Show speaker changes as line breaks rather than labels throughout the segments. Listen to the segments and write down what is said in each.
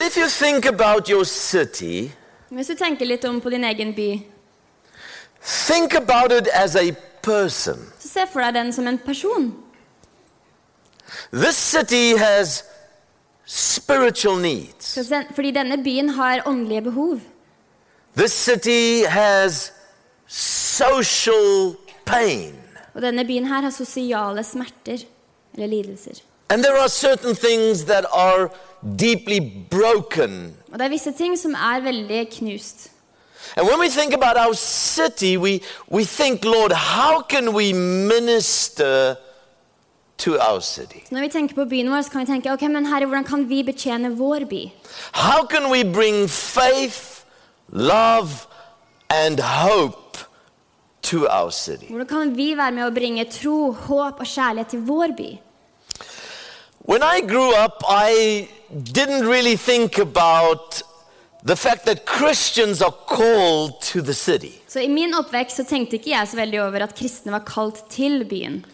If you think about your city,
Hvis du tenker litt om på din egen by,
think about it as a person.
så se for deg den som en person.
This city has spiritual needs.
Så den- Fordi denne byen har åndelige behov.
This city has social pain.
Og denne byen her har sosiale smerter eller lidelser.
And there are certain things that are deeply broken.
Og det er visse ting som er veldig knust.
And when we think about our city, we, we think, Lord, how can we minister to our city?
Så når vi tenker på byen vår, så kan vi tenke ok, men herre, hvordan kan vi betjene vår by?
How can we bring faith, love, and hope to our city?
Hvordan kan vi være med å bringe tro, håp og kjærlighet til vår by?
When I grew up, I didn't really think about the fact that Christians are called to the city.
Så I min oppvekst så tenkte ikke jeg så veldig over at kristne var kalt til byen.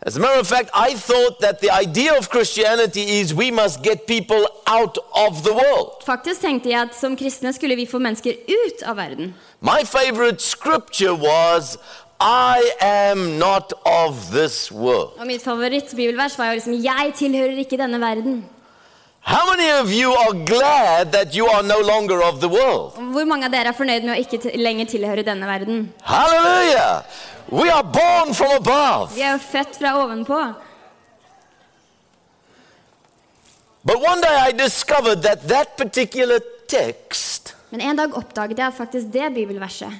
As a matter of fact, I thought that the idea of Christianity is we must get people out of the world.
Faktisk tenkte jeg at som kristne skulle vi få mennesker ut av verden.
My favorite scripture was, I am not of this world.
Og mitt favorittbibelvers var jo liksom 'Jeg tilhører ikke denne verden'.
How many of you are glad that you are no longer of the world?
Og Hvor mange av dere er fornøyd med å ikke til- lenger tilhøre denne verden?
Hallelujah! We are born from above.
Vi er jo født fra ovenpå.
But one day I discovered that that particular text
Men en dag oppdaget jeg faktisk det bibelverset,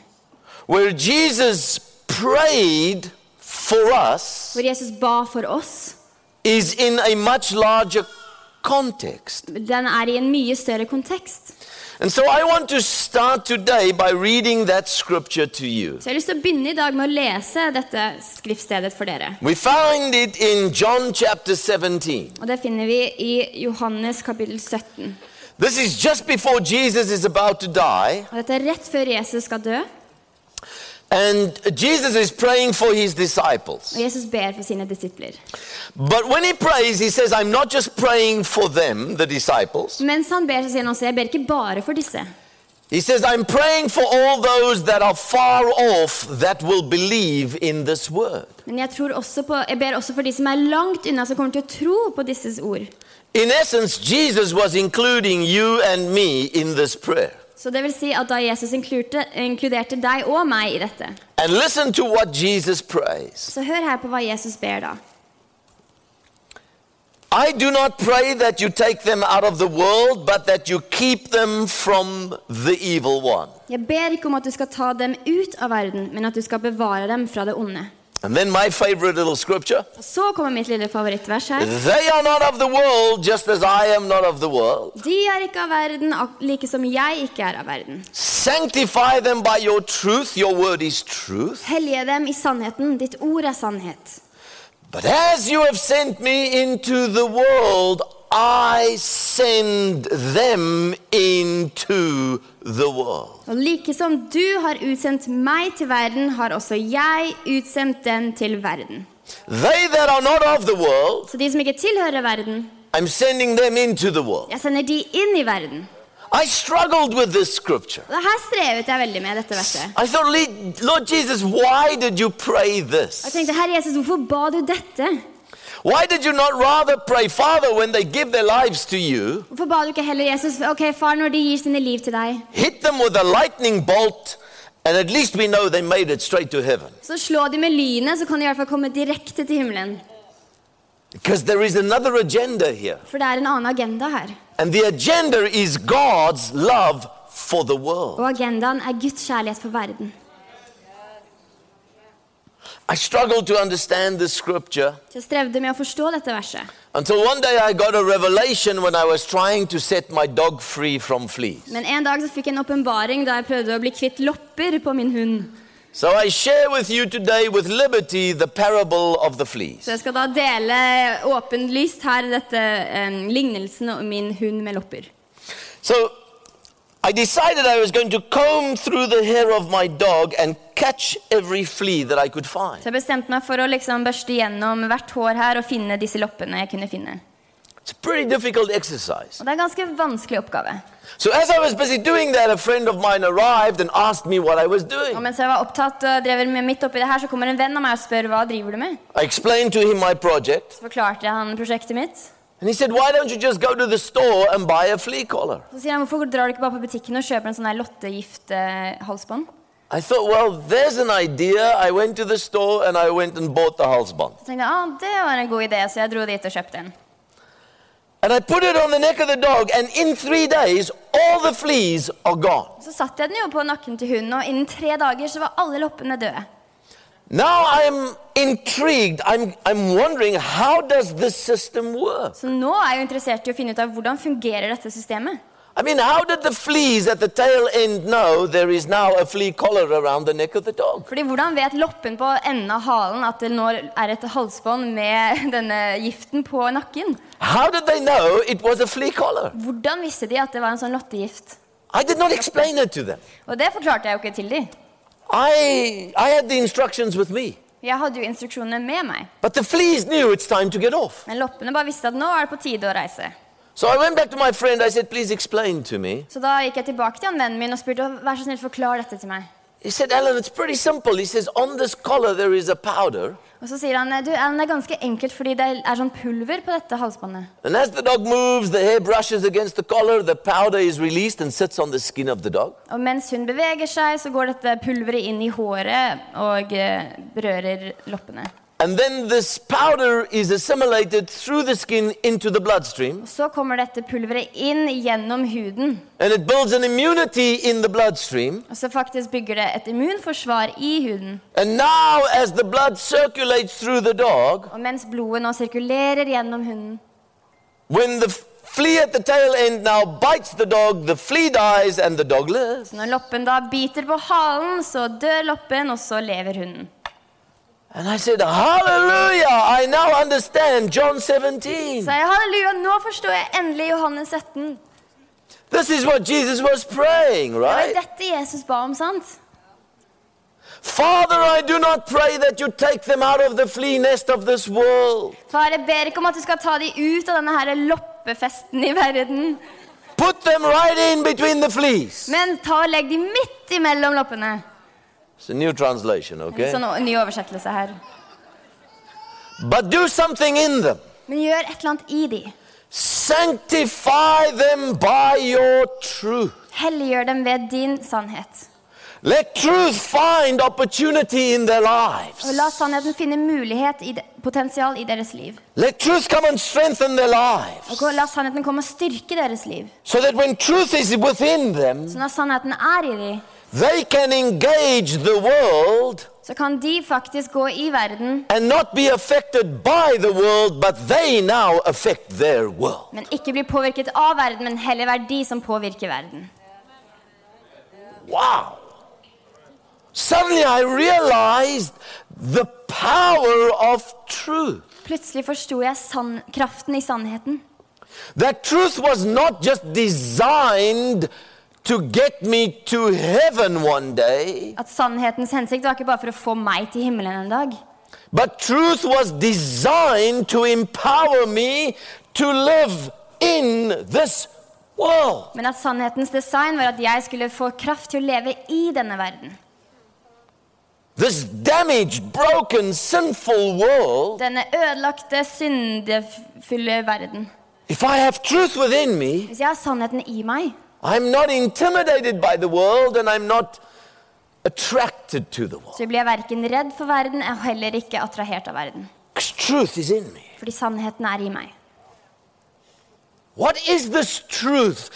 where Jesus prayed for us
hvor Jesus ba for oss.
is in a much larger context.
Den er i en mye større kontekst.
And so I want to start today by reading that scripture to you.
Så jeg har lyst til å begynne i dag med å lese dette skriftstedet for dere.
We find it in John chapter 17.
Og det finner vi i Johannes kapittel 17.
This is just before Jesus is about to die,
Og dette er rett før Jesus skal dø, og
and Jesus is praying for his disciples.
Jesus ber for sine disipler.
But when he prays, he says, I'm not just praying for them, the disciples.
Mens han ber, så sier han også, jeg ber ikke bare for disse.
He says, I'm praying for all those that are far off that will believe in this word.
Men jeg, tror også på, jeg ber også for de som er langt unna, som kommer til å tro på disses ord.
In essence, Jesus was including you and me in this prayer.
Så det vil si at da Jesus inkluderte, inkluderte deg og meg i dette,
And listen to what Jesus prays.
så hør her på hva Jesus ber da.
I do not pray that you take them out of the world, but that you keep them from the evil one.
Jeg ber ikke om at du skal ta dem ut av verden, men at du skal bevare dem fra det onde.
And then my favorite little scripture
Og så kommer mitt lille favorittvers her.
they are not of the world, just as I am not of the world.
De er ikke av verden, ak- like som jeg ikke er av verden.
Sanctify them by your truth, your word is truth.
Hellige dem i sannheten, ditt ord er sannhet.
But as you have sent me into the world, I send them into the world.
Og like som du har utsendt meg til verden, har også jeg utsendt den til verden.
They that are not of the world,
Så de som ikke tilhører verden,
I'm sending them into the world.
jeg sender de inn i verden.
I struggled with this scripture.
Og det her strevet jeg veldig med dette verset.
I thought, "Le- Lord Jesus, why did you pray
Og jeg
this?
tenkte, Herre Jesus, hvorfor ba du dette?
Why did you not rather pray, Father, when they give their lives to you,
Hvorfor ba du ikke heller Jesus, ok far, når de gir sine liv til deg,
hit them with a lightning bolt, and at least we know they made it straight to heaven?
så slå de med lynet, så kan de i hvert fall komme direkte til himmelen.
Because there is another agenda here.
For det er en annen agenda her.
And the agenda is God's love for the world.
Og agendaen er Guds kjærlighet for verden.
I struggled to understand this scripture
Så jeg strevde med å forstå dette verset.
until one day I got a revelation when I was trying to set my dog free from fleas.
Men en dag så fikk jeg en åpenbaring da jeg prøvde å bli kvitt lopper på min hund.
So I share with you today with liberty the parable of the fleas.
Så jeg skal da dele åpenlyst her dette eh, lignelsen om min hund med lopper.
So I decided I was going to comb through the hair of my dog and catch every flea that I could find.
Så jeg bestemte meg for å liksom børste gjennom hvert hår her og finne disse loppene jeg kunne finne.
It's a pretty difficult exercise.
Og det er en ganske vanskelig oppgave.
So as I was busy doing that, a friend of mine arrived and asked me what I was
Og
doing.
mens jeg var opptatt og drev med midt oppi det her, så kommer en venn av meg og spør hva driver du med.
I explained to him my project,
Så forklarte jeg han prosjektet mitt.
and he said, "Why don't you just go to the store and buy a flea collar?"
Så sier han hvorfor drar du ikke bare på butikken og kjøper en sånn her lottegifthalsbånd?
I thought, well, there's an idea. I went to the store and I went and bought the halsband.
Så tenkte jeg ah, det var en god idé, så jeg dro dit og kjøpte en.
And I put it on the neck of the dog, and in three days, all the fleas are gone.
Så satte jeg den jo på nakken til hunden, og innen tre dager så var alle loppene døde.
Now I'm intrigued. I'm, I'm wondering how does this system work?
Så nå er jeg jo interessert i å finne ut av hvordan fungerer dette systemet.
I mean, how did the fleas at the tail end know there is now a flea collar around the neck of the dog?
Fordi hvordan vet loppen på enden av halen at det nå er et halsbånd med denne giften på nakken?
How did they know it was a flea collar?
Hvordan visste de at det var en sånn lottegift?
I did not explain it to them.
Og det forklarte jeg jo ikke til de.
I, I had the instructions with me.
Jeg hadde jo instruksjonene med meg.
But the fleas knew it's time to get off.
Men loppene bare visste at nå er det på tide å reise.
So I went back to my friend. I said, please explain to me.
Så da gikk jeg tilbake til han vennen min og spurte vær så snill forklar dette til meg.
He said, Alan, it's pretty simple. He says, on this collar there is a powder.
Og så sier han du, Ellen, det er ganske enkelt fordi det er sånn pulver på dette halsbåndet.
And as the dog moves, the hair brushes against the collar, the powder is released and sits on the skin of the dog.
Og mens hun beveger seg, så går dette pulveret inn i håret og eh, berører loppene.
And then this powder is assimilated through the skin into the bloodstream,
Så kommer dette pulveret inn gjennom huden.
and it builds an immunity in the bloodstream.
Og så faktisk bygger det et immunforsvar i huden.
And now, as the blood circulates through the dog,
Og mens blodet nå sirkulerer gjennom hunden,
when the f- flea at the tail end now bites the dog, the flea dies and the dog lives.
når loppen da biter på halen, så dør loppen, og så lever hunden.
And I said, Hallelujah! I now understand John 17.
Så jeg, halleluja, nå forstår jeg endelig Johannes 17.
This is what Jesus was praying,
Det var
right?
dette Jesus ba om, sant?
Father, I do not pray that you take them out of the flea nest of this world.
Far, jeg ber ikke om at du skal ta de ut av denne her loppefesten i verden.
Put them right in between the fleas.
Men ta og legg de midt imellom loppene.
It's a new translation,
En
okay?
sånn o- ny oversettelse her.
But do something in them.
Men gjør et eller annet i de.
Sanctify them by your truth.
Helliggjør dem ved din sannhet.
Let truth find opportunity in their
Og
lives.
la sannheten finne mulighet i de, potensial i deres liv.
Let truth come and strengthen their
Og
lives.
gå- la sannheten komme og styrke deres liv.
So that when truth is within them,
Så når sannheten er i de,
they can engage the world
så kan de faktisk gå i verden,
and not be affected by the world, but they now affect their world.
men ikke bli påvirket av verden, men heller være de som påvirker verden.
Wow. Suddenly I realized the power of truth.
Plutselig forsto jeg sann, kraften i sannheten.
That truth was not just designed to get me to heaven one day,
At sannhetens hensikt var ikke bare for å få meg til himmelen en dag.
but truth was designed to empower me to live in this world.
Men at sannhetens design var at jeg skulle få kraft til å leve i denne verden.
This damaged, broken, sinful world.
Denne ødelagte, syndefulle verden.
If I have truth within me,
Hvis jeg har sannheten i meg,
I'm not intimidated by the world and I'm not attracted to the world.
så blir jeg verken redd for verden og heller ikke attrahert av verden.
'Cause Truth is in me.
Fordi sannheten er i meg.
What is this truth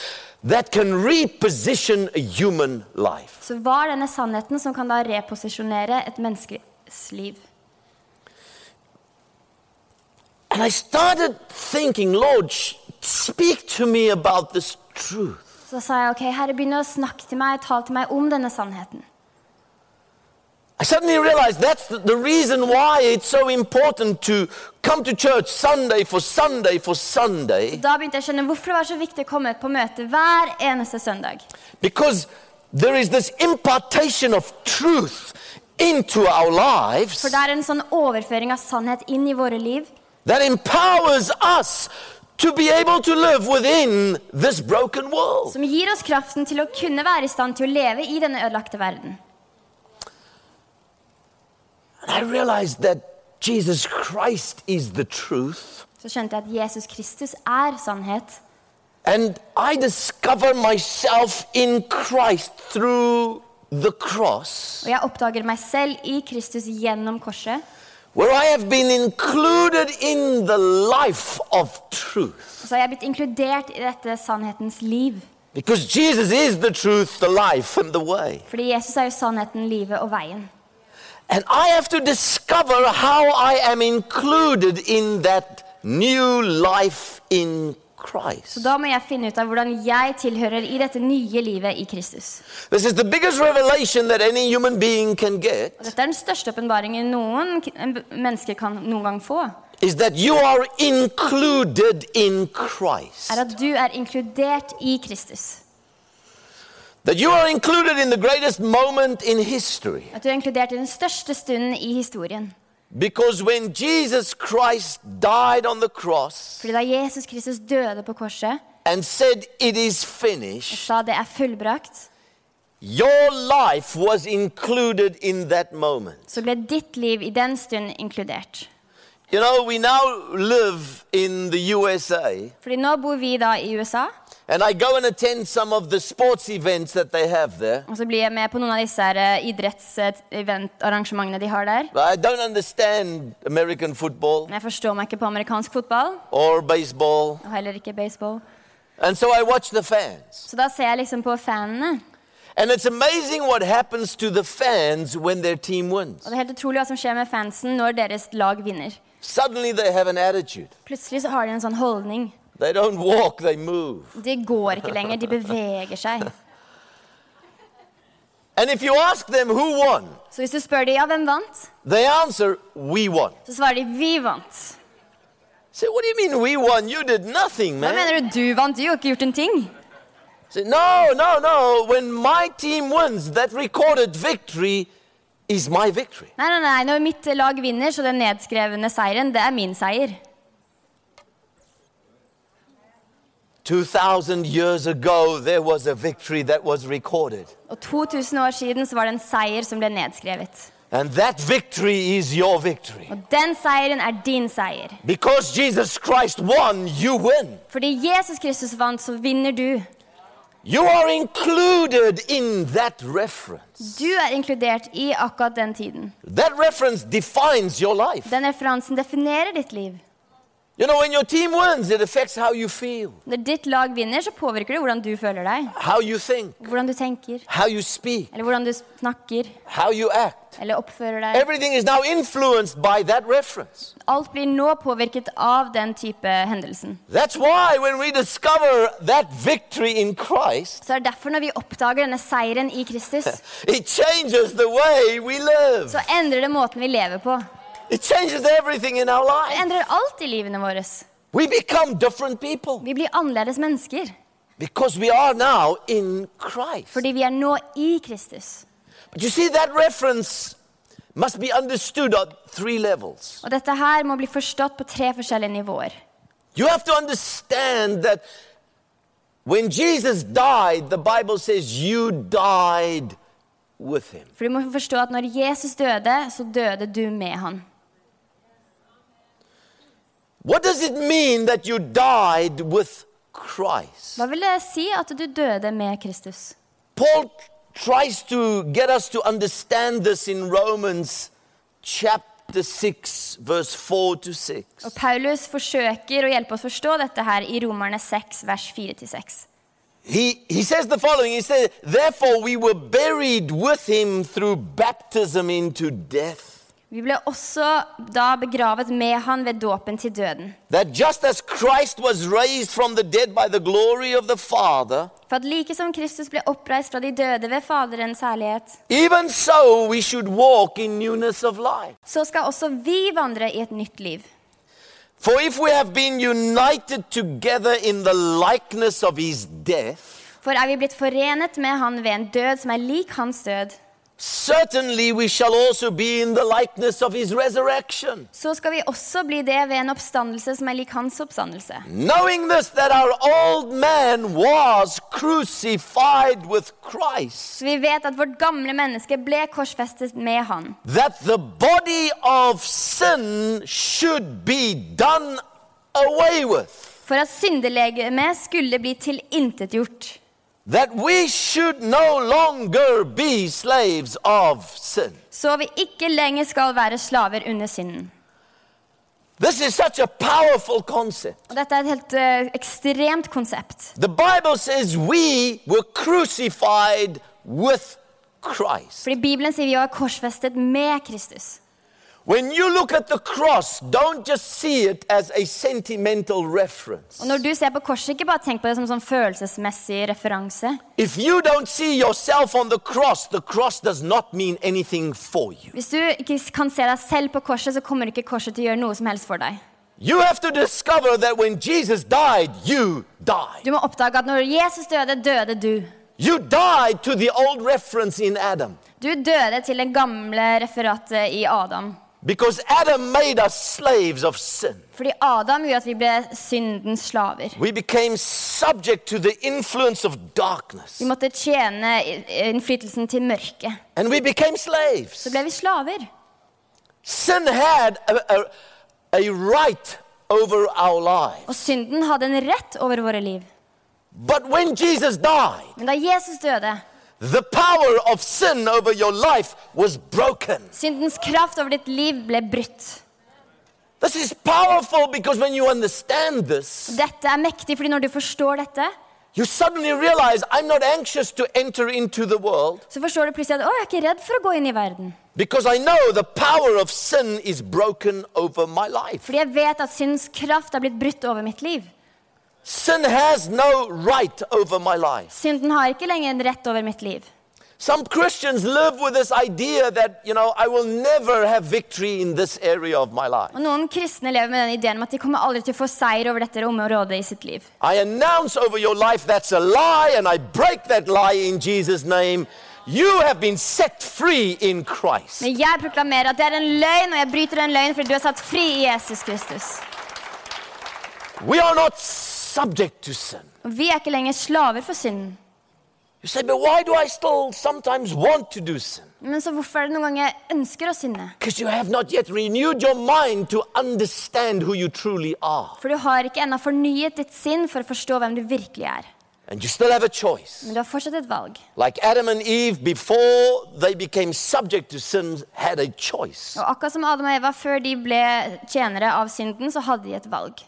that can reposition a human life?
Så hva er denne sannheten som kan da reposisjonere et menneskes liv?
And I started thinking, Lord, sh- speak to me about this truth.
Så sa jeg ok, herre, begynn å snakke til meg, tal til meg om denne sannheten.
I suddenly realized that's the- the reason why it's so important to come to church Sunday for Sunday for Sunday.
Da begynte jeg å skjønne hvorfor det var så viktig å komme på møte hver eneste søndag.
Because there is this impartation of truth into our lives.
For det er en sånn overføring av sannhet inn i våre liv
that empowers us to be able to live within this broken world.
som gir oss kraften til å kunne være i stand til å leve i denne ødelagte verden.
And I realized that Jesus Christ is the truth.
Så skjønte jeg at Jesus Kristus er sannhet.
And I discover myself in Christ through the cross,
Og jeg oppdager meg selv i Kristus gjennom korset,
where I have been included in the life of truth.
og så har jeg blitt inkludert i dette sannhetens liv.
Because Jesus is the truth, the life, and the way.
Fordi Jesus er jo sannheten, livet og veien.
And I have to discover how I am included in that new life in Christ.
Da må jeg finne ut av hvordan jeg tilhører i dette nye livet i Kristus.
This is the biggest revelation that any human being can
Og
get
dette er den største åpenbaringen noen k- en b- mennesker kan noen gang få.
is that you are included in Christ.
Er at du er inkludert i Kristus.
That you are included in the greatest moment in history.
At du er inkludert i den største stunden i historien.
Because when Jesus Christ died on the cross
Fordi da Jesus Kristus døde på korset
and said, It is
og
finished,
sa det er fullbrakt,
your life was included in that moment.
så ble ditt liv i den stund inkludert.
You know, we now live in the USA,
Fordi nå bor vi da i USA,
and I go and attend some of the sports events that they have there.
og så blir jeg med på noen av disse her, eh, idretts eh, eventarrangementene de har der.
But I don't understand American football
Men jeg forstår meg ikke på amerikansk fotball,
or baseball,
og heller ikke baseball.
and so I watch the fans.
Så da ser jeg liksom på fanene.
And it's amazing what happens to the fans when their team wins.
Og det er helt utrolig hva som skjer med fansen når deres lag vinner.
Suddenly they have an attitude.
Plutselig så har de en sånn holdning.
They don't walk, they move.
De går ikke lenger, de beveger seg.
And if you ask them who won,
Så hvis du spør de, ja, hvem vant?
they answer, We won.
Så svarer de, vi vant.
Say, what do you mean we won? You did nothing,
Hva
man.
mener du, du vant? Du har jo ikke gjort en ting.
Say, no, no, no. When my team wins, that recorded victory is my victory.
Nei, nei, nei, når mitt lag vinner, så den nedskrevne seieren, det er min seier.
2,000 years ago, there was a victory that was recorded.
Og 2000 år siden så var det en seier som ble nedskrevet.
And that victory is your victory.
Og den seieren er din seier.
Because Jesus Christ won, you win.
Fordi Jesus Kristus vant, så vinner du.
You are included in that reference.
Du er inkludert i akkurat den tiden.
That reference defines your life.
Den referansen definerer ditt liv.
You know, when your team wins, it affects how you feel,
Når ditt lag vinner, så påvirker det hvordan du føler deg.
how you think,
Hvordan du tenker,
how you speak,
eller hvordan du snakker,
how you act.
eller oppfører deg.
Everything is now influenced by that reference.
Alt blir nå påvirket av den type hendelsen.
That's why when we discover that victory in Christ,
Så det er derfor når vi oppdager denne seieren i Kristus,
it changes the way we live.
så endrer det måten vi lever på.
It changes everything in our
Det
life.
endrer alt i livene våre.
We become different people
Vi blir annerledes mennesker
because we are now in Christ.
fordi vi er nå i Kristus.
But you see, that reference must be understood on three levels.
Og dette her må bli forstått på tre forskjellige nivåer.
You have to understand that when Jesus died, the Bible says you died with him.
For du må forstå at når Jesus døde, så døde du med han.
What does it mean that you died with Christ?
Hva vil det si at du døde med Kristus?
Paul tries to get us to understand this in Romans chapter 6, verse 4 to 6.
Og Paulus forsøker å hjelpe oss forstå dette her i Romerne 6, vers 4-6.
He, he says the following He says, Therefore we were buried with him through baptism into death,
Vi ble også da begravet med han ved dåpen til døden.
that just as Christ was raised from the dead by the glory of the Father,
For at like som Kristus ble oppreist fra de døde ved Faderens herlighet,
even so we should walk in newness of life.
så skal også vi vandre i et nytt liv.
For if we have been united together in the likeness of his death,
For er vi blitt forenet med han ved en død som er lik hans død,
certainly we shall also be in the likeness of his resurrection.
så skal vi også bli det ved en oppstandelse som er lik hans oppstandelse.
Knowing this, that our old man was crucified with Christ,
Så vi vet at vårt gamle menneske ble korsfestet med han.
that the body of sin should be done away with,
For at syndelegemet skulle bli tilintetgjort.
that we should no longer be slaves of sin.
Så vi ikke lenger skal være slaver under synden.
This is such a powerful concept.
Og dette er et helt eh, ekstremt konsept.
The Bible says we were crucified with Christ.
Fordi Bibelen sier vi var korsfestet med Kristus.
When you look at the cross, don't just see it as a sentimental reference.
Og når du ser på korset, ikke bare tenk på det som sånn følelsesmessig referanse.
If you don't see yourself on the cross, the cross does not mean anything for you.
Hvis du ikke kan se deg selv på korset, så kommer ikke korset til å gjøre noe som helst for deg.
You have to discover that when Jesus died, you died.
Du må oppdage at når Jesus døde, døde du.
You died to the old reference in Adam.
Du døde til det gamle referatet i Adam.
Because Adam made us slaves of sin.
Fordi Adam gjorde at vi ble syndens slaver.
We became subject to the influence of darkness.
Vi måtte tjene i- innflytelsen til mørket.
And we became
Så
slaves.
ble vi slaver.
Sin had a, a, a right over our lives.
Og synden hadde en rett over våre liv.
But when Jesus died,
Men da Jesus døde,
the power of sin over your life was broken.
syndens kraft over ditt liv ble brutt.
This is powerful because when you understand this,
Dette er mektig, fordi når du forstår dette,
you suddenly realize I'm not anxious to enter into the world
så forstår du plutselig at å, jeg er ikke redd for å gå inn i verden.
because I know the power of sin is broken over my life.
Fordi jeg vet at syndens kraft er blitt brutt over mitt liv.
Sin has no right over my life.
Synden har ikke lenger en rett over mitt liv.
Some Christians live with this idea that, you know, I will never have victory in this area of my life.
Og noen kristne lever med den ideen om at de kommer aldri til å få seier over dette området i sitt liv.
I announce over your life that's a lie and I break that lie in Jesus' name. You have been set free in Christ.
Men jeg proklamerer at det er en løgn, og jeg bryter den løgnen fordi du er satt fri i Jesus Kristus.
We are not subject to sin.
Og vi er ikke lenger slaver for synden.
You say, but why do I still sometimes want to do sin?
Men så hvorfor er det noen ganger jeg ønsker å synde?
Because you have not yet renewed your mind to understand who you truly are.
For du har ikke ennå fornyet ditt sinn for å forstå hvem du virkelig er.
And you still have a choice.
Men du har fortsatt et valg.
Like Adam and Eve, before they became subject to sin, had a choice.
Og akkurat som Adam og Eva før de ble tjenere av synden, så hadde de et valg.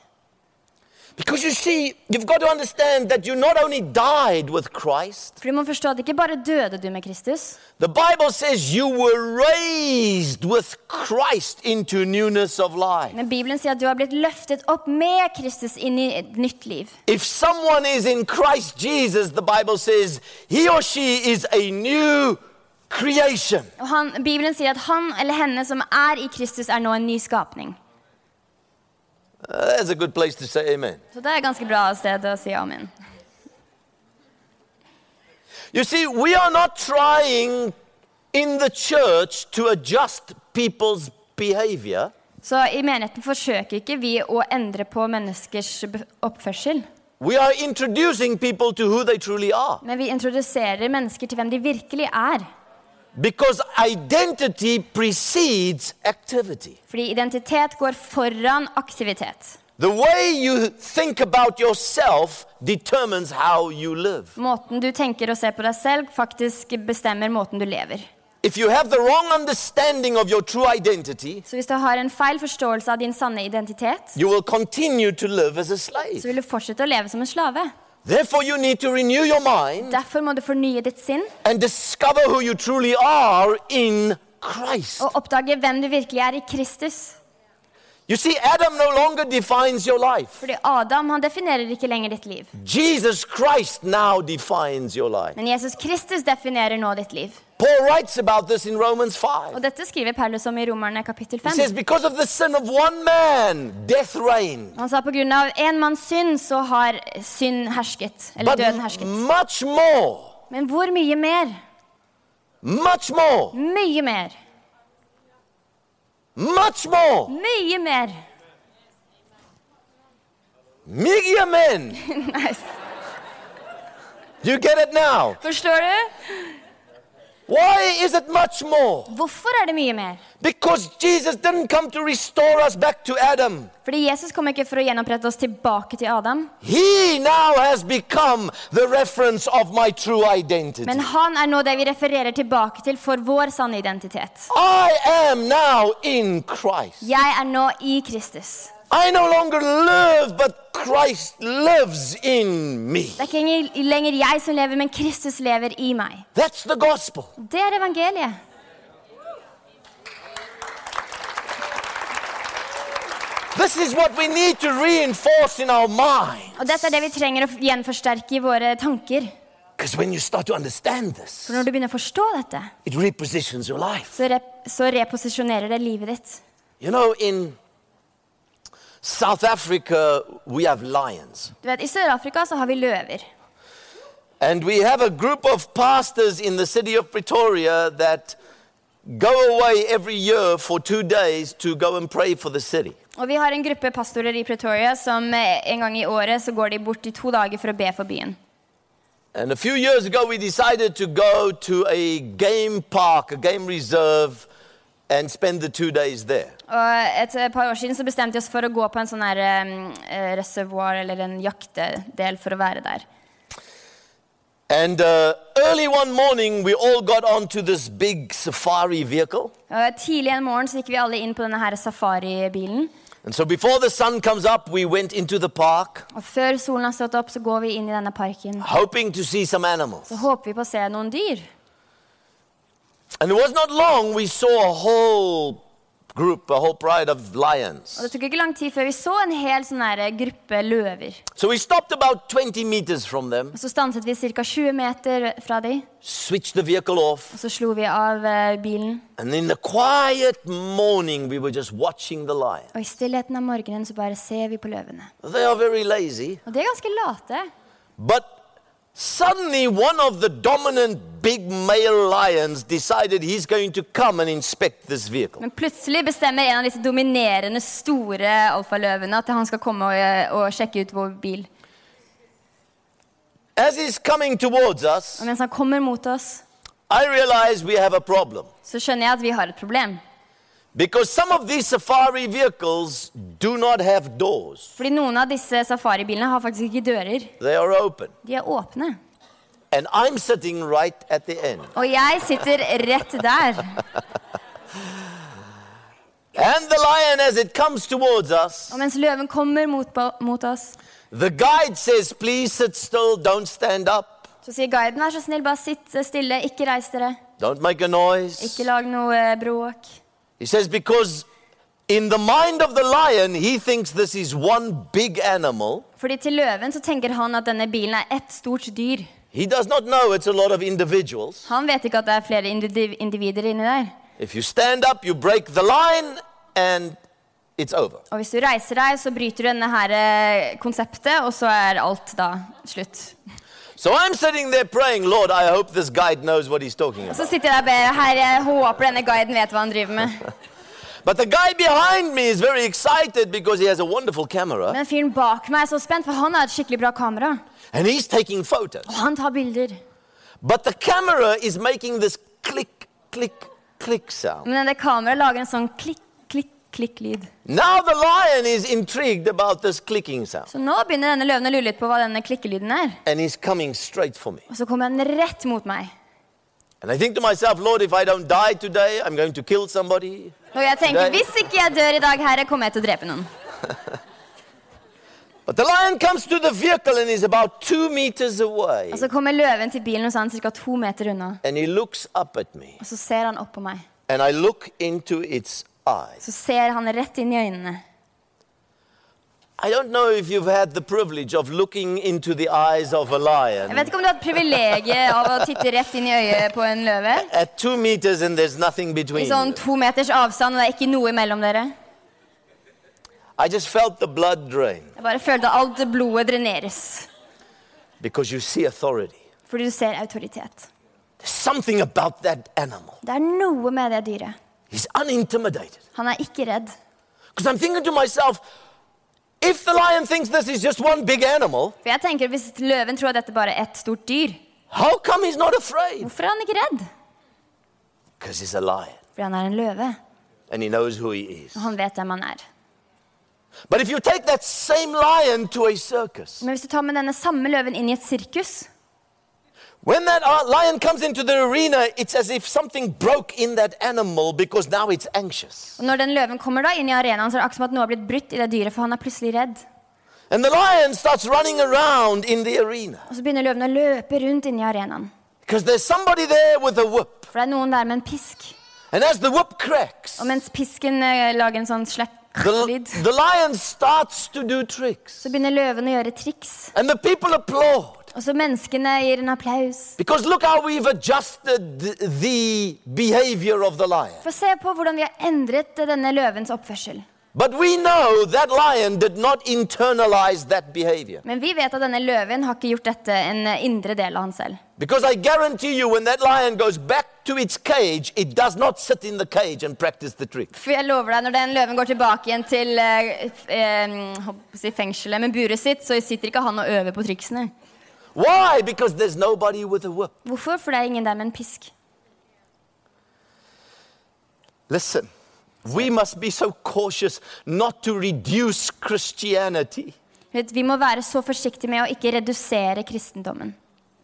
Because you see, you've got to understand that you not only died with Christ,
For du må forstå at ikke bare døde du med Kristus,
the Bible says you were raised with Christ into newness of life.
men Bibelen sier at du har blitt løftet opp med Kristus inn i et nytt liv.
If someone is in Christ Jesus, the Bible says he or she is a new creation.
Og han, Bibelen sier at han eller henne som er i Kristus, er nå en ny skapning.
Uh, that's a good place to say amen.
Så det er et ganske bra sted å si amen.
You see, we are not trying in the church to adjust people's behavior.
Så i menigheten forsøker ikke vi å endre på menneskers be- oppførsel,
We are introducing people to who they truly are
men vi introduserer mennesker til hvem de virkelig er.
because identity precedes activity.
Fordi identitet går foran aktivitet.
The way you think about yourself determines how you live.
Måten du tenker og ser på deg selv, faktisk bestemmer måten du lever.
If you have the wrong understanding of your true identity,
Så hvis du har en feil forståelse av din sanne identitet,
you will continue to live as a
så
slave.
vil du fortsette å leve som en slave.
Therefore, you need to renew your mind
Derfor må du fornye ditt sinn
and discover who you truly are in Christ.
og oppdage hvem du virkelig er i Kristus.
You see, Adam no longer defines your life.
Fordi Adam han definerer ikke lenger ditt liv.
Jesus Christ now defines your life.
Men Jesus Kristus definerer nå ditt liv.
Paul writes about this in Romans
Og
5.
dette skriver Paulus om i Romerne kapittel
He says,
5.
Because of the sin of one man, death reigned.
Han sa på grunn av en manns synd så har synd hersket. Eller
But
døden hersket.
much more,
Men hvor mye mer?
Much more.
Mye mer.
Much more.
Mye mer.
Miggy amen.
Nice.
You get it now.
Forstår du?
Why is it much more?
Hvorfor er det mye mer?
Because Jesus didn't come to restore us back to Adam.
Fordi Jesus kom ikke for å gjenopprette oss tilbake til Adam,
He now has become the reference of my true identity.
men han er nå det vi refererer tilbake til for vår sanne identitet.
I am now in Christ.
Jeg er nå i Kristus.
I no longer live, but Christ lives in me.
Det er ikke lenger- lenger jeg som lever, men Kristus lever i meg.
That's the gospel.
Det er evangeliet.
This is what we need to reinforce in our mind.
Og dette er det vi trenger å f- gjenforsterke i våre tanker.
Because when you start to understand this,
For når du begynner å forstå dette,
it repositions your life.
så, rep så reposisjonerer det livet ditt.
You know, in South Africa, we have lions.
Du vet, I Sør-Afrika så har vi løver.
And we have a group of pastors in the city of Pretoria that go away every year for two days to go and pray for the city.
Og vi har en gruppe pastorer i Pretoria som eh, en gang i året så går de bort i to dager for å be for byen.
And a few years ago, we decided to go to a game park, a game reserve, and spend the two days there.
Og et eh, par år siden så bestemte vi oss for å gå på en sånn her eh, reservoir eller en jaktedel for å være der.
And uh, early one morning, we all got onto this big safari vehicle.
Og tidlig en morgen så gikk vi alle inn på denne her safaribilen.
And so before the sun comes up, we went into the park,
Og før solen har stått opp, så går vi inn i denne parken.
hoping to see some animals.
Så håper vi på å se noen dyr.
And it was not long, we saw a whole group, a whole pride of
Og det
lions.
tok ikke lang tid før vi så en hel sånn her gruppe løver.
So we stopped about 20 meters from them,
Og så stanset vi ca. 20 meter fra de,
switched the vehicle off,
og så slo vi av eh, bilen.
and in the quiet morning, we were just watching the lion.
Og i stillheten av morgenen så bare ser vi på løvene.
They are very lazy,
Og de er ganske late.
but suddenly one of the dominant big male lions decided he's going to come and inspect this vehicle.
Men plutselig bestemmer en av disse dominerende store alfaløvene at han skal komme og, eh, og sjekke ut vår bil.
As he's coming towards us,
Og mens han kommer mot oss,
I realize we have a problem
så skjønner jeg at vi har et problem.
because some of these safari vehicles do not have doors.
Fordi noen av disse safaribilene har faktisk ikke dører.
They are open.
De er åpne.
And I'm sitting right at the end.
Og jeg sitter rett der.
And the lion, as it comes towards us,
Og mens løven kommer mot, ba- mot oss,
the guide says, Please sit still, don't stand up,
så sier guiden vær så snill, bare sitt stille, ikke reis dere.
don't make a noise.
Ikke lag noe eh, bråk.
He says, Because in the mind of the lion, he thinks this is one big animal.
Fordi til løven så tenker han at denne bilen er ett stort dyr.
He does not know it's a lot of individuals.
Han vet ikke at det er flere indiv individer inni der.
If you stand up, you break the line, and it's over.
Og hvis du reiser deg, så bryter du denne her eh, konseptet, og så er alt da slutt.
So I'm sitting there praying, Lord, I hope this guide knows what he's talking
Og
about.
så sitter jeg der og ber Herre, jeg håper denne guiden vet hva han driver med.
But the guy behind me is very excited because he has a wonderful camera
Men fyren bak meg er så spent, for han har et skikkelig bra kamera.
and he's taking photos.
Og han tar bilder.
But the camera is making this click, click, click sound.
Men det kameraet lager en sånn klikk, klikk, klikk-lyd.
Now the lion is intrigued about this clicking sound
Så nå begynner denne løven å lure litt på hva denne klikkelyden er.
and he's coming straight for me.
Og så kommer den rett mot meg.
And I think to myself, Lord, if I don't die today, I'm going to kill somebody.
Og jeg tenker,
Nei.
hvis ikke jeg dør i dag, herre, kommer jeg til å drepe noen.
But the lion comes to the vehicle and is about two meters away
Og så kommer løven til bilen, og så er han ca. to meter unna.
and he looks up at me
Og så ser han opp på meg.
and I look into its eyes.
Så ser han rett inn i øynene.
I don't know if you've had the privilege of looking into the eyes of a lion.
Jeg vet ikke om du har hatt privilegiet av å titte rett inn i øyet på en løve.
at two meters and there's nothing
I
between.
sånn to meters avstand, og det er ikke noe imellom dere.
I just felt the blood drain
Jeg bare følte alt blodet dreneres.
because you see authority.
Fordi du ser autoritet.
There's something about that animal.
Det er noe med det dyret.
He's unintimidated.
Han er ikke redd.
Because I'm thinking to myself, if the lion thinks this is just one big animal,
For jeg tenker Hvis løven tror at dette bare er ett stort dyr,
how come he's not afraid?
hvorfor er han ikke redd?
Because he's a lion
Fordi han er en løve.
and he knows who he is.
Og han vet hvem han er.
But if you take that same lion to a circus,
Men hvis du tar med denne samme løven inn i et sirkus,
when that uh, lion comes into the arena, it's as if something broke in that animal because now it's anxious.
og når den løven kommer da inn i arenaen, så er det akkurat som at noe har blitt brutt i det dyret, for han er plutselig redd.
And the lion starts running around in the arena
Og så begynner løven å løpe rundt inni arenaen.
because there's somebody there with a whip.
For det er noen der med en pisk.
And as the whip cracks,
Og mens pisken eh, lager en sånn slakk
the,
lyd,
the lion starts to do tricks.
så begynner løven å gjøre triks.
And the people applaud
Og så menneskene gir en applaus.
because look how we've adjusted th- the behavior of the lion.
For se på hvordan vi har endret eh, denne løvens oppførsel.
But we know that lion did not internalize that behavior.
Men vi vet at denne løven har ikke gjort dette en eh, indre del av han selv.
Because I guarantee you, when that lion goes back to its cage, it does not sit in the cage and practice the trick.
For jeg lover deg, når den løven går tilbake igjen til eh, f- eh, håper å si fengselet med buret sitt, så sitter ikke han og øver på triksene.
Why? Because there's nobody with a whip.
Hvorfor? For det er ingen der med en pisk.
Listen, we must be so cautious not to reduce Christianity
Vet, Vi må være så forsiktige med å ikke redusere kristendommen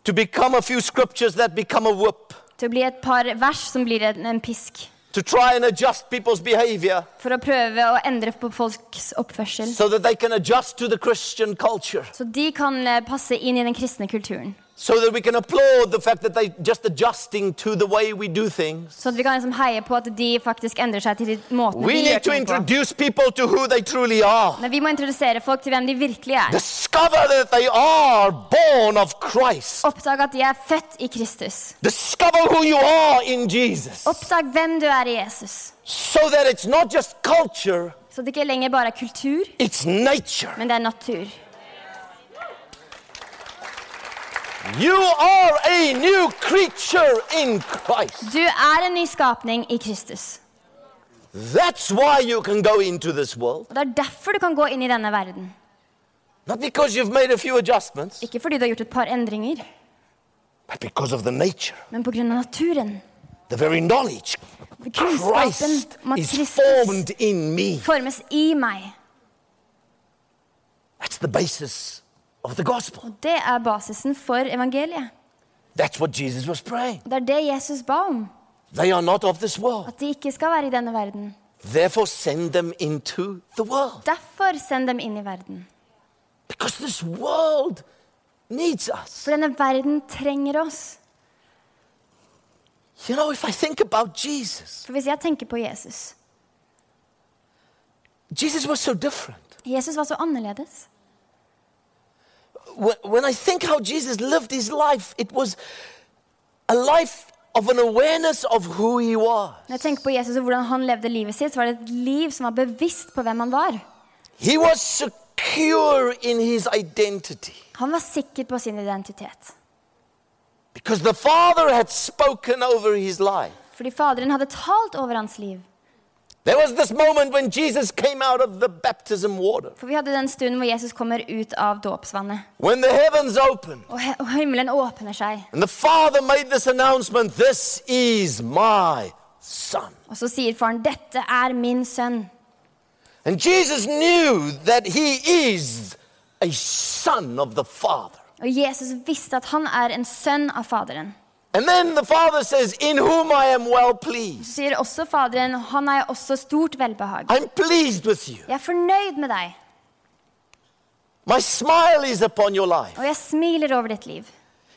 to become a few scriptures that become a whip,
til å bli et par vers som blir en, en pisk.
to try and adjust people's behavior.
For å prøve å endre på folks oppførsel.
so that they can adjust to the Christian culture,
Så de kan eh, passe inn i den kristne kulturen.
so that we can applaud the fact that they just adjusting to the way we do things.
Så at vi kan liksom heie på at de faktisk endrer seg til de måtene
We
de
need
gjør
to
ting på.
introduce people to who they truly are.
Men vi må introdusere folk til hvem de virkelig er.
Discover that they are born of Christ.
Oppdag at de er født i Kristus.
Discover who you are in Jesus.
Oppdag hvem du er i Jesus.
So that it's not just culture,
Så det ikke lenger bare er kultur,
it's nature.
men det er natur.
You are a new creature in Christ.
Du er en ny skapning i Kristus.
That's why you can go into this world.
Og Det er derfor du kan gå inn i denne verden.
Not because you've made a few adjustments,
Ikke fordi du har gjort et par endringer,
but because of the nature.
men pga. naturen.
The very knowledge
Kunnskapen
Christ
om at
is
Kristus
formed in me.
formes i meg.
That's the basis of the gospel.
Og Det er basisen for evangeliet.
That's what Jesus was praying.
Og Det er det Jesus ba om.
They are not of this world.
At de ikke skal være i denne verden.
Therefore, send them into the world.
Derfor send dem inn i verden.
Because this world needs us.
For denne verden trenger oss.
You know, if I think about Jesus,
For hvis jeg tenker på Jesus
Jesus was so different.
Jesus var så annerledes.
Wh- When I think how Jesus lived his life, it was a life of an awareness of who he was.
Når jeg tenker på Jesus og hvordan han levde livet sitt, så var det et liv som var bevisst på hvem han var.
He was secure in his identity.
Han var sikker på sin identitet.
Because the Father had spoken over his life.
Fordi Faderen hadde talt over hans liv.
There was this moment when Jesus came out of the baptism water,
For vi hadde den stunden hvor Jesus kommer ut av dåpsvannet,
when the heavens opened,
og, he- og himmelen åpner seg.
and the Father made this announcement This is my Son.
Og så sier faren, 'Dette er min sønn'.
And Jesus knew that he is a Son of the Father.
Og Jesus visste at han er en sønn av Faderen.
And then the Father says, In whom I am well pleased.
Så sier også Faderen, 'Han er også stort velbehag'.
I'm pleased with you.
Jeg er fornøyd med deg,
My smile is upon your life.
og jeg smiler over ditt liv.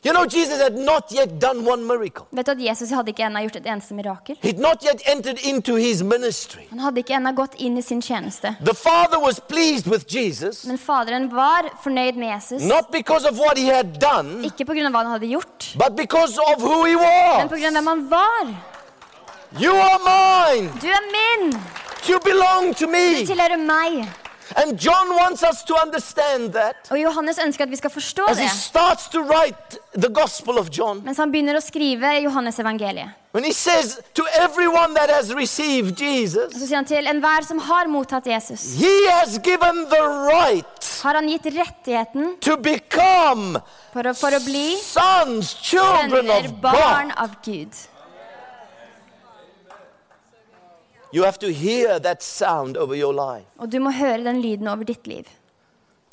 You know, Jesus had not yet done one miracle,
Vet du at Jesus hadde ikke ennå gjort et eneste mirakel?
he'd not yet entered into his ministry.
Han hadde ikke ennå gått inn i sin tjeneste.
The father was pleased with Jesus,
Men Faderen var fornøyd med Jesus,
not because of what he had done,
ikke pga. hva han hadde gjort,
but because of who he
men pga.
was.
hvem han var.
You are mine.
Du er min!
You belong to
Du
me.
tilhører meg.
And John wants us to understand that
Og Johannes ønsker at vi skal forstå
as he
det.
starts to write the Gospel of John.
Mens han begynner å skrive Johannes evangeliet.
When he says, To everyone that has received Jesus,
Så sier han til enhver som har mottatt Jesus,
he has given the right
har han gitt rettigheten
to become
for å, for å bli
sons, children
venner,
of
barn
God.
av Gud.
You have to hear that sound over your life.
Og du må høre den lyden over ditt liv.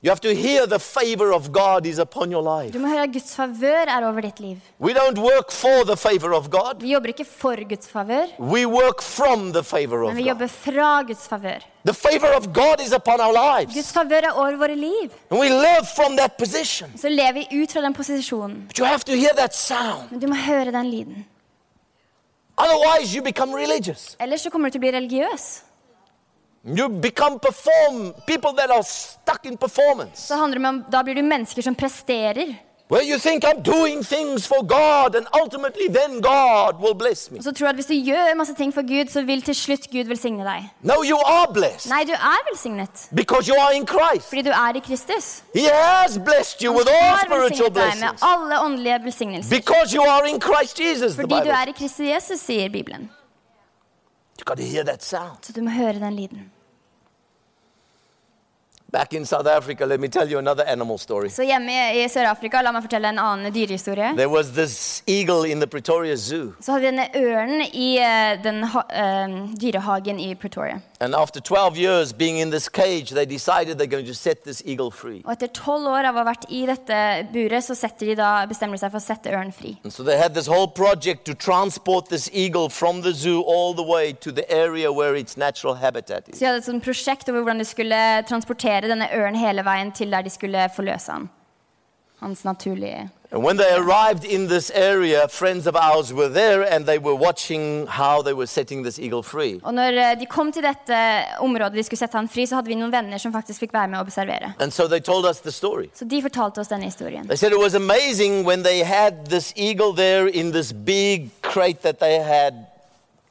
You have to hear the favor of God is upon your life.
Du må høre at Guds favør er over ditt liv.
We don't work for the favor of God,
Vi jobber ikke for Guds favør,
we work from the favor of
men vi
God.
jobber fra Guds favør.
The favor of God is upon our
Guds
lives,
favør er over våre liv.
and we live from that position.
Så lever vi ut fra den posisjonen.
But you have to hear that sound.
Men du må høre den lyden.
Otherwise, you become religious.
Ellers så kommer du til å bli religiøs.
You become perform people that are stuck in performance,
Så handler det om, Da blir du mennesker som presterer.
where you think I'm doing things for God, and ultimately, then God will bless me.
Og så tror jeg at hvis du gjør masse ting for Gud, så vil til slutt Gud velsigne deg.
No, you are blessed
Nei, du er velsignet
because you are in Christ.
fordi du er i Kristus.
He has blessed you with all
Han har
spiritual
velsignet deg med
blessings.
alle åndelige velsignelser.
Because you are in Christ Jesus, the
Fordi du
Bible.
er i Kristus Jesus, sier Bibelen.
You got to hear that sound.
Så du må høre den lyden.
Back in South Africa, let me tell you another animal story.
Så hjemme i i Sør-Afrika, la meg fortelle en annen dyrehistorie.
There was this eagle in the Pretoria Zoo,
Så hadde vi denne ørnen i eh, den ha eh, dyrehagen i Pretoria.
and after 12 years being in this cage, they decided they're going to set this eagle free.
Og etter tolv år av å ha vært i dette buret, så setter de da, bestemmer de seg for å sette ørnen fri.
And so they had this whole project to transport this eagle from the zoo all the way to the area where its natural habitat is.
Så de hadde et sånt prosjekt over hvordan de skulle transportere denne ørnen hele veien til der de skulle forløse han. Hans naturlige
And when they arrived in this area, friends of ours were there and they were watching how they were setting this eagle free.
Og når eh, de kom til dette området de skulle sette han fri, så hadde vi noen venner som faktisk fikk være med og observere.
And so they told us the story.
Så de fortalte oss denne historien.
They said it was amazing when they had this eagle there in this big crate that they had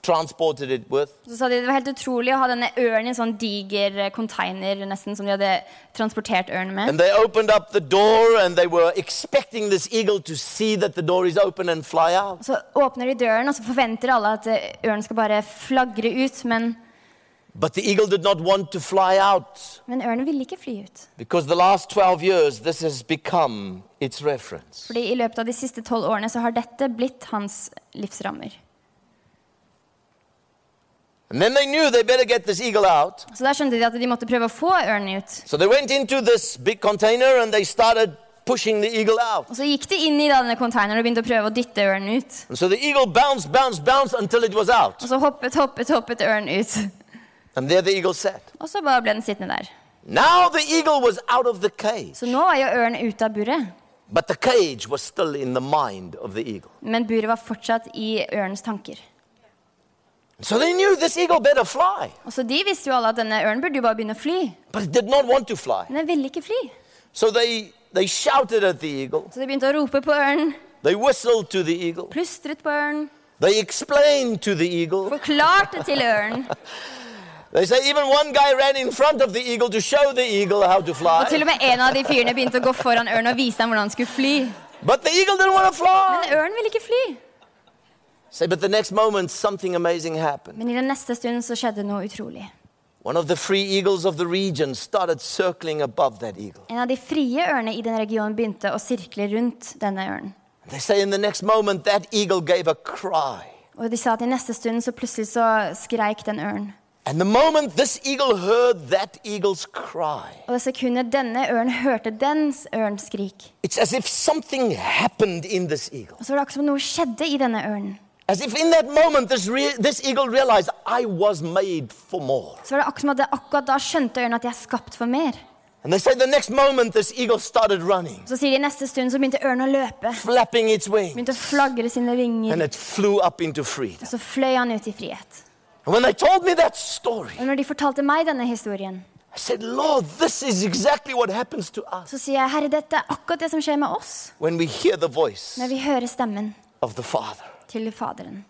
transported it with.
Så sa de det var helt utrolig å ha denne ørnen i en sånn diger eh, container nesten som de hadde transportert ørnen med.
And they opened up the door and they were expecting this eagle to see that the door is open and fly out.
Så åpner de døren, og så forventer alle at eh, ørnen skal bare flagre ut. Men,
But the eagle did not want to fly out
men ørnen ville ikke fly ut.
because the last 12 years this has become its reference.
Fordi i løpet av de siste tolv årene så har dette blitt hans livsrammer.
And then they knew they better get this eagle out.
Så der skjønte de at de måtte prøve å få ørnen ut.
So they went into this big container and they started pushing the eagle out.
Og så gikk de inn i da denne containeren og begynte å prøve å dytte ørnen ut.
And so the eagle bounced, bounced, bounced until it was out.
Og så hoppet, hoppet, hoppet ørnen ut.
And there the eagle sat.
Og så bare ble den sittende der.
Now the eagle was out of the cage,
Så nå var jo ørnen ute av buret.
but the cage was still in the mind of the eagle.
Men buret var fortsatt i ørnens tanker.
So they knew this eagle better fly,
Og så de visste jo alle at denne ørnen burde jo bare begynne å fly.
but it did not want to fly.
Men den ville ikke fly.
So they, they shouted at the eagle,
Så de begynte å rope på ørnen,
they whistled to the eagle,
plystret på ørnen,
they explained to the eagle.
forklarte til ørnen.
They say even one guy ran in front of the eagle to show the eagle how to
Og til
fly,
og med en av de fyrene begynte å gå foran ørnen og vise ham hvordan han skulle fly.
but the eagle didn't want to fly.
Men ørnen ville ikke fly.
Say, but the next moment something amazing happened.
Men i den neste stunden så skjedde noe utrolig.
One of the free eagles of the region started circling above that eagle.
En av de frie ørnene i den regionen begynte å sirkle rundt denne ørnen.
They say in the next moment that eagle gave a cry.
Og de sa at i neste stund så plutselig så skreik den ørnen.
And the moment this eagle heard that eagle's cry,
Og det sekundet denne ørnen hørte dens ørns skrik,
it's as if something happened in this eagle.
og så var det akkurat som noe skjedde i denne ørnen.
As if in that moment this, re- this eagle realized I was made for more.
Så var det akkurat som at det akkurat da skjønte ørnen at de er skapt for mer.
And they say the next moment this eagle started running,
Så sier de i neste stund så begynte ørnen å løpe.
flapping its wings,
Begynte å flagre sine
and
vinger.
it flew up into freedom.
Og så fløy han ut i frihet.
And when they told me that story,
Og når de fortalte meg denne historien,
I said, Lord, this is exactly what happens to us
så sier jeg herre, dette er akkurat det som skjer med oss
when we hear the voice
når vi hører stemmen
of the Father.
til Faderen.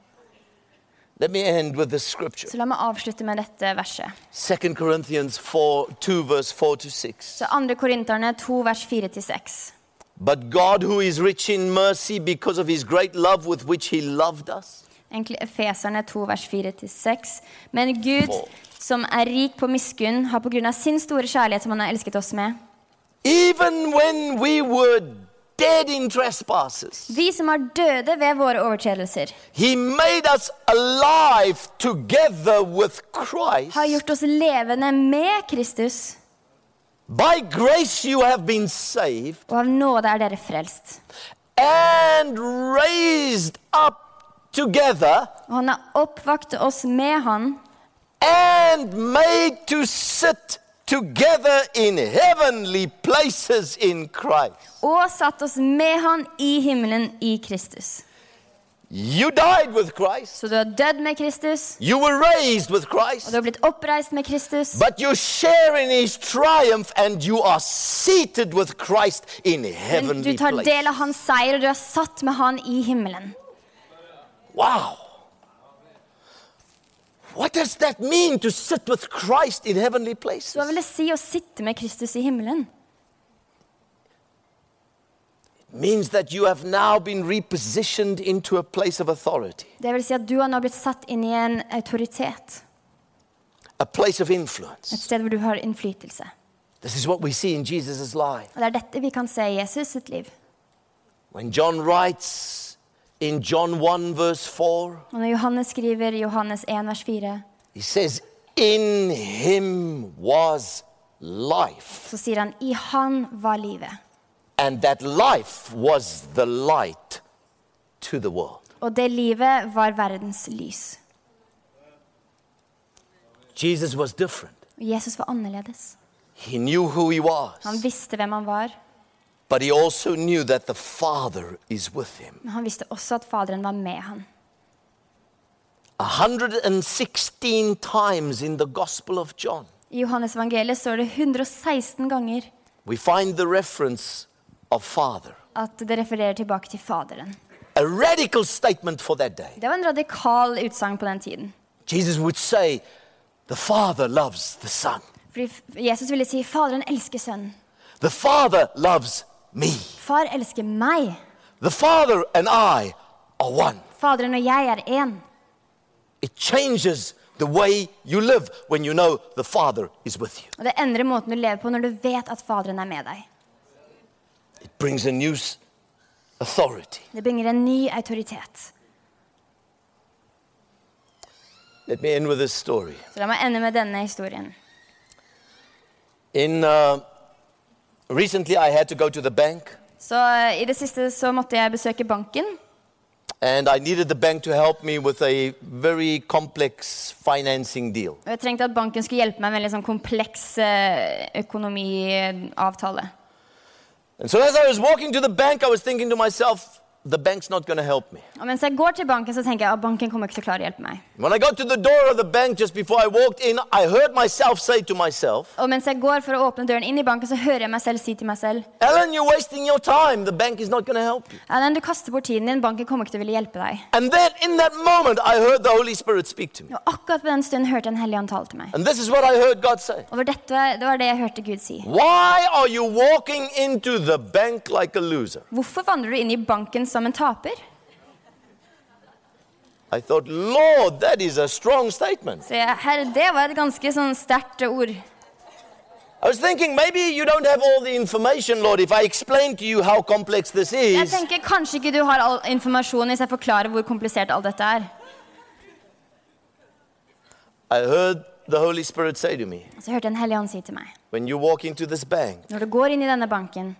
Let me end with this scripture.
Så la meg avslutte med dette verset.
2 Corinthians 4, 2, verse 4 to 6.
Så 2. Korinterne 2, vers 4-6.
But God, who is rich in mercy because of his great love with which he loved us,
Egentlig Efeserne 2, vers 4-6. Men Gud,
Wow.
som er rik på miskunn, har på grunn av sin store kjærlighet som han har elsket oss med,
even when we were dead in trespasses,
vi som er døde ved våre overtredelser,
he made us alive together with Christ.
har gjort oss levende med Kristus,
By grace you have been saved
og av nåde er dere frelst.
and raised up together
Og han har oppvakt oss med han,
and made to sit together in heavenly places in Christ.
og satt oss med han i himmelen i Kristus.
You died with Christ.
Så du har dødd med Kristus,
You were raised with
og
Christ.
du har blitt oppreist med Kristus,
But you share in his triumph and you are seated with Christ in
men du
heavenly
tar del
place.
av hans seier, og du er satt med han i himmelen.
Wow. What does that mean to sit with Christ in heavenly
Så hva
places?
vil det si å sitte med Kristus i himmelen?
means that you have now been repositioned into a place of authority,
Det vil si at du har nå blitt satt inn i en autoritet.
a place of
Et
influence.
sted hvor du har innflytelse.
This is what we see in Jesus' life.
Og det er dette vi kan se i Jesus sitt liv.
When John writes in John 1, verse 4,
Og når Johannes skriver i Johannes 1, vers 4,
he says, In him was life,
så sier han i han var livet.
and that life was the light to the world.
Og det livet var verdens lys.
Jesus was different.
Og Jesus var annerledes.
He knew who he
Han
was,
visste hvem han var,
but he also knew that the Father is with him.
men han visste også at Faderen var med han.
116 times in the Gospel of John,
I Johannes evangeliet står det 116 ganger
we find the reference of Father.
at det refererer tilbake til Faderen.
A radical statement for that day.
Det var en radikal utsagn på den tiden.
Jesus would say, The Father loves the Son.
Fordi f- Jesus ville si 'Faderen elsker sønnen'.
The Father loves me.
Far elsker meg.
The Father and I are one.
Faderen og jeg er én.
It changes the way you live when you know the Father is with you.
Og det endrer måten du lever på når du vet at Faderen er med deg.
It brings a new s- authority.
Det bringer en ny autoritet.
Let me end with this story.
Så la meg ende med denne historien.
In uh, recently, I had to go to the bank,
Så eh, i det siste så måtte jeg besøke banken.
and I needed the bank to help me with a very complex financing deal.
Og jeg trengte at banken skulle hjelpe meg med en litt sånn kompleks eh, økonomiavtale.
And so, as I was walking to the bank, I was thinking to myself, the bank's not going to help me.
Og mens jeg går til banken, så tenker jeg at banken kommer ikke til å klare å hjelpe meg.
When I got to the door of the bank just before I walked in, I heard myself say to myself,
Og mens jeg går for å åpne døren inn i banken, så hører jeg meg selv si til meg selv
Ellen, you're wasting your time. The bank is not going to help you.
Ellen, du kaster bort tiden din. Banken kommer ikke til å ville hjelpe deg.
And then in that moment, I heard the Holy Spirit speak to me.
Og akkurat på den stunden hørte jeg en hellig ånd tale til meg.
And this is what I heard God say
Og dette, det var det jeg hørte Gud si.
Why are you walking into the bank like a loser?
Hvorfor vandrer du inn i banken som en taper?
I thought, Lord, that is a strong statement.
Så jeg, herre, det var et ganske sånn sterkt ord.
I was thinking, maybe you don't have all the information, Lord. If I explain to you how complex this
Jeg
is,
tenker kanskje ikke du har all informasjon hvis jeg forklarer hvor komplisert alt dette er.
I heard the Holy Spirit say to me,
Og Så hørte jeg en hellig ånd si til meg.
When you walk into this bank,
Når du går inn i denne banken,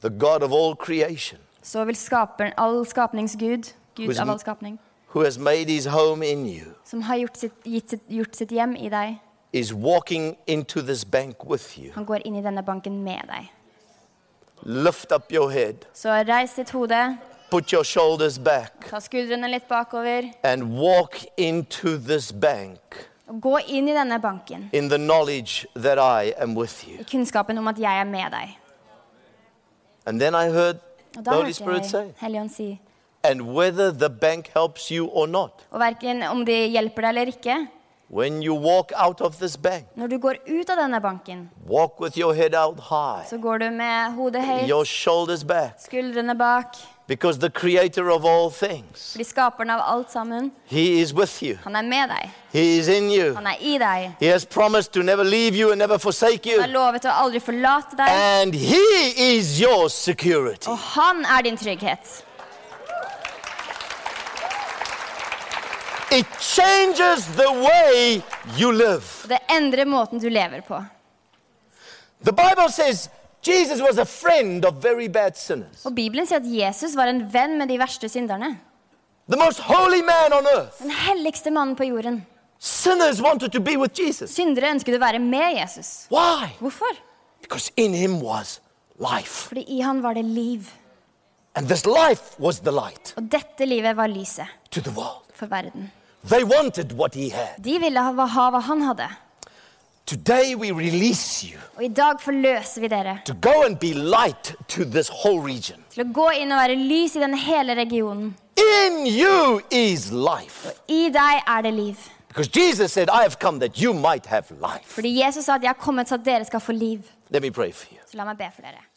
the God of all creation,
så vil skaperen, all skapningsgud, Gud av all skapning,
who has made his home in you,
som har gjort sitt, gitt sitt, gjort sitt hjem i deg,
is walking into this bank with you.
han går inn i denne banken med deg.
Lift up your head,
Så reis ditt hode,
put your shoulders back,
ta skuldrene litt bakover,
and walk into this bank
og gå inn i denne banken
in the knowledge that I am with you.
i kunnskapen om at jeg er med deg.
And then I heard
Og
the
da
Holy
hørte
Spirit say,
jeg Helligånd si,
and whether the bank helps you or not.
Og verken om de hjelper deg eller ikke.
When you walk out of this bank,
Når du går ut av denne banken,
walk with your head out high,
så går du med hodet høyt,
your shoulders back,
skuldrene bak.
because the creator of all things,
Fordi skaperen av alt sammen,
he is with you.
han er med deg.
He is in you.
Han er i deg.
He has promised to never leave you and never forsake
Han har
you.
lovet å aldri forlate deg.
And he is your security.
Og han er din trygghet.
It changes the way you live.
Og det endrer måten du lever på.
The Bible says Jesus was a friend of very bad sinners.
Og Bibelen sier at Jesus var en venn med de verste synderne.
The most holy man on earth.
Den helligste mannen på jorden.
Sinners wanted to be with Jesus.
Syndere ønsket å være med Jesus.
Why?
Hvorfor?
Because in him was life.
Fordi i han var det liv.
And this life was the light
Og dette livet var lyset
to the world.
for verden.
They wanted what he had.
De ville ha, ha hva han hadde.
Today we release you
Og i dag forløser vi dere
to go and be light to this whole region.
til å gå inn og være lys i denne hele regionen.
In you is life.
I deg er det liv.
Because Jesus said, I have come that you might have life.
Fordi Jesus sa at 'jeg er kommet så at dere skal få liv'.
Let me pray for you.
Så la meg be for dere.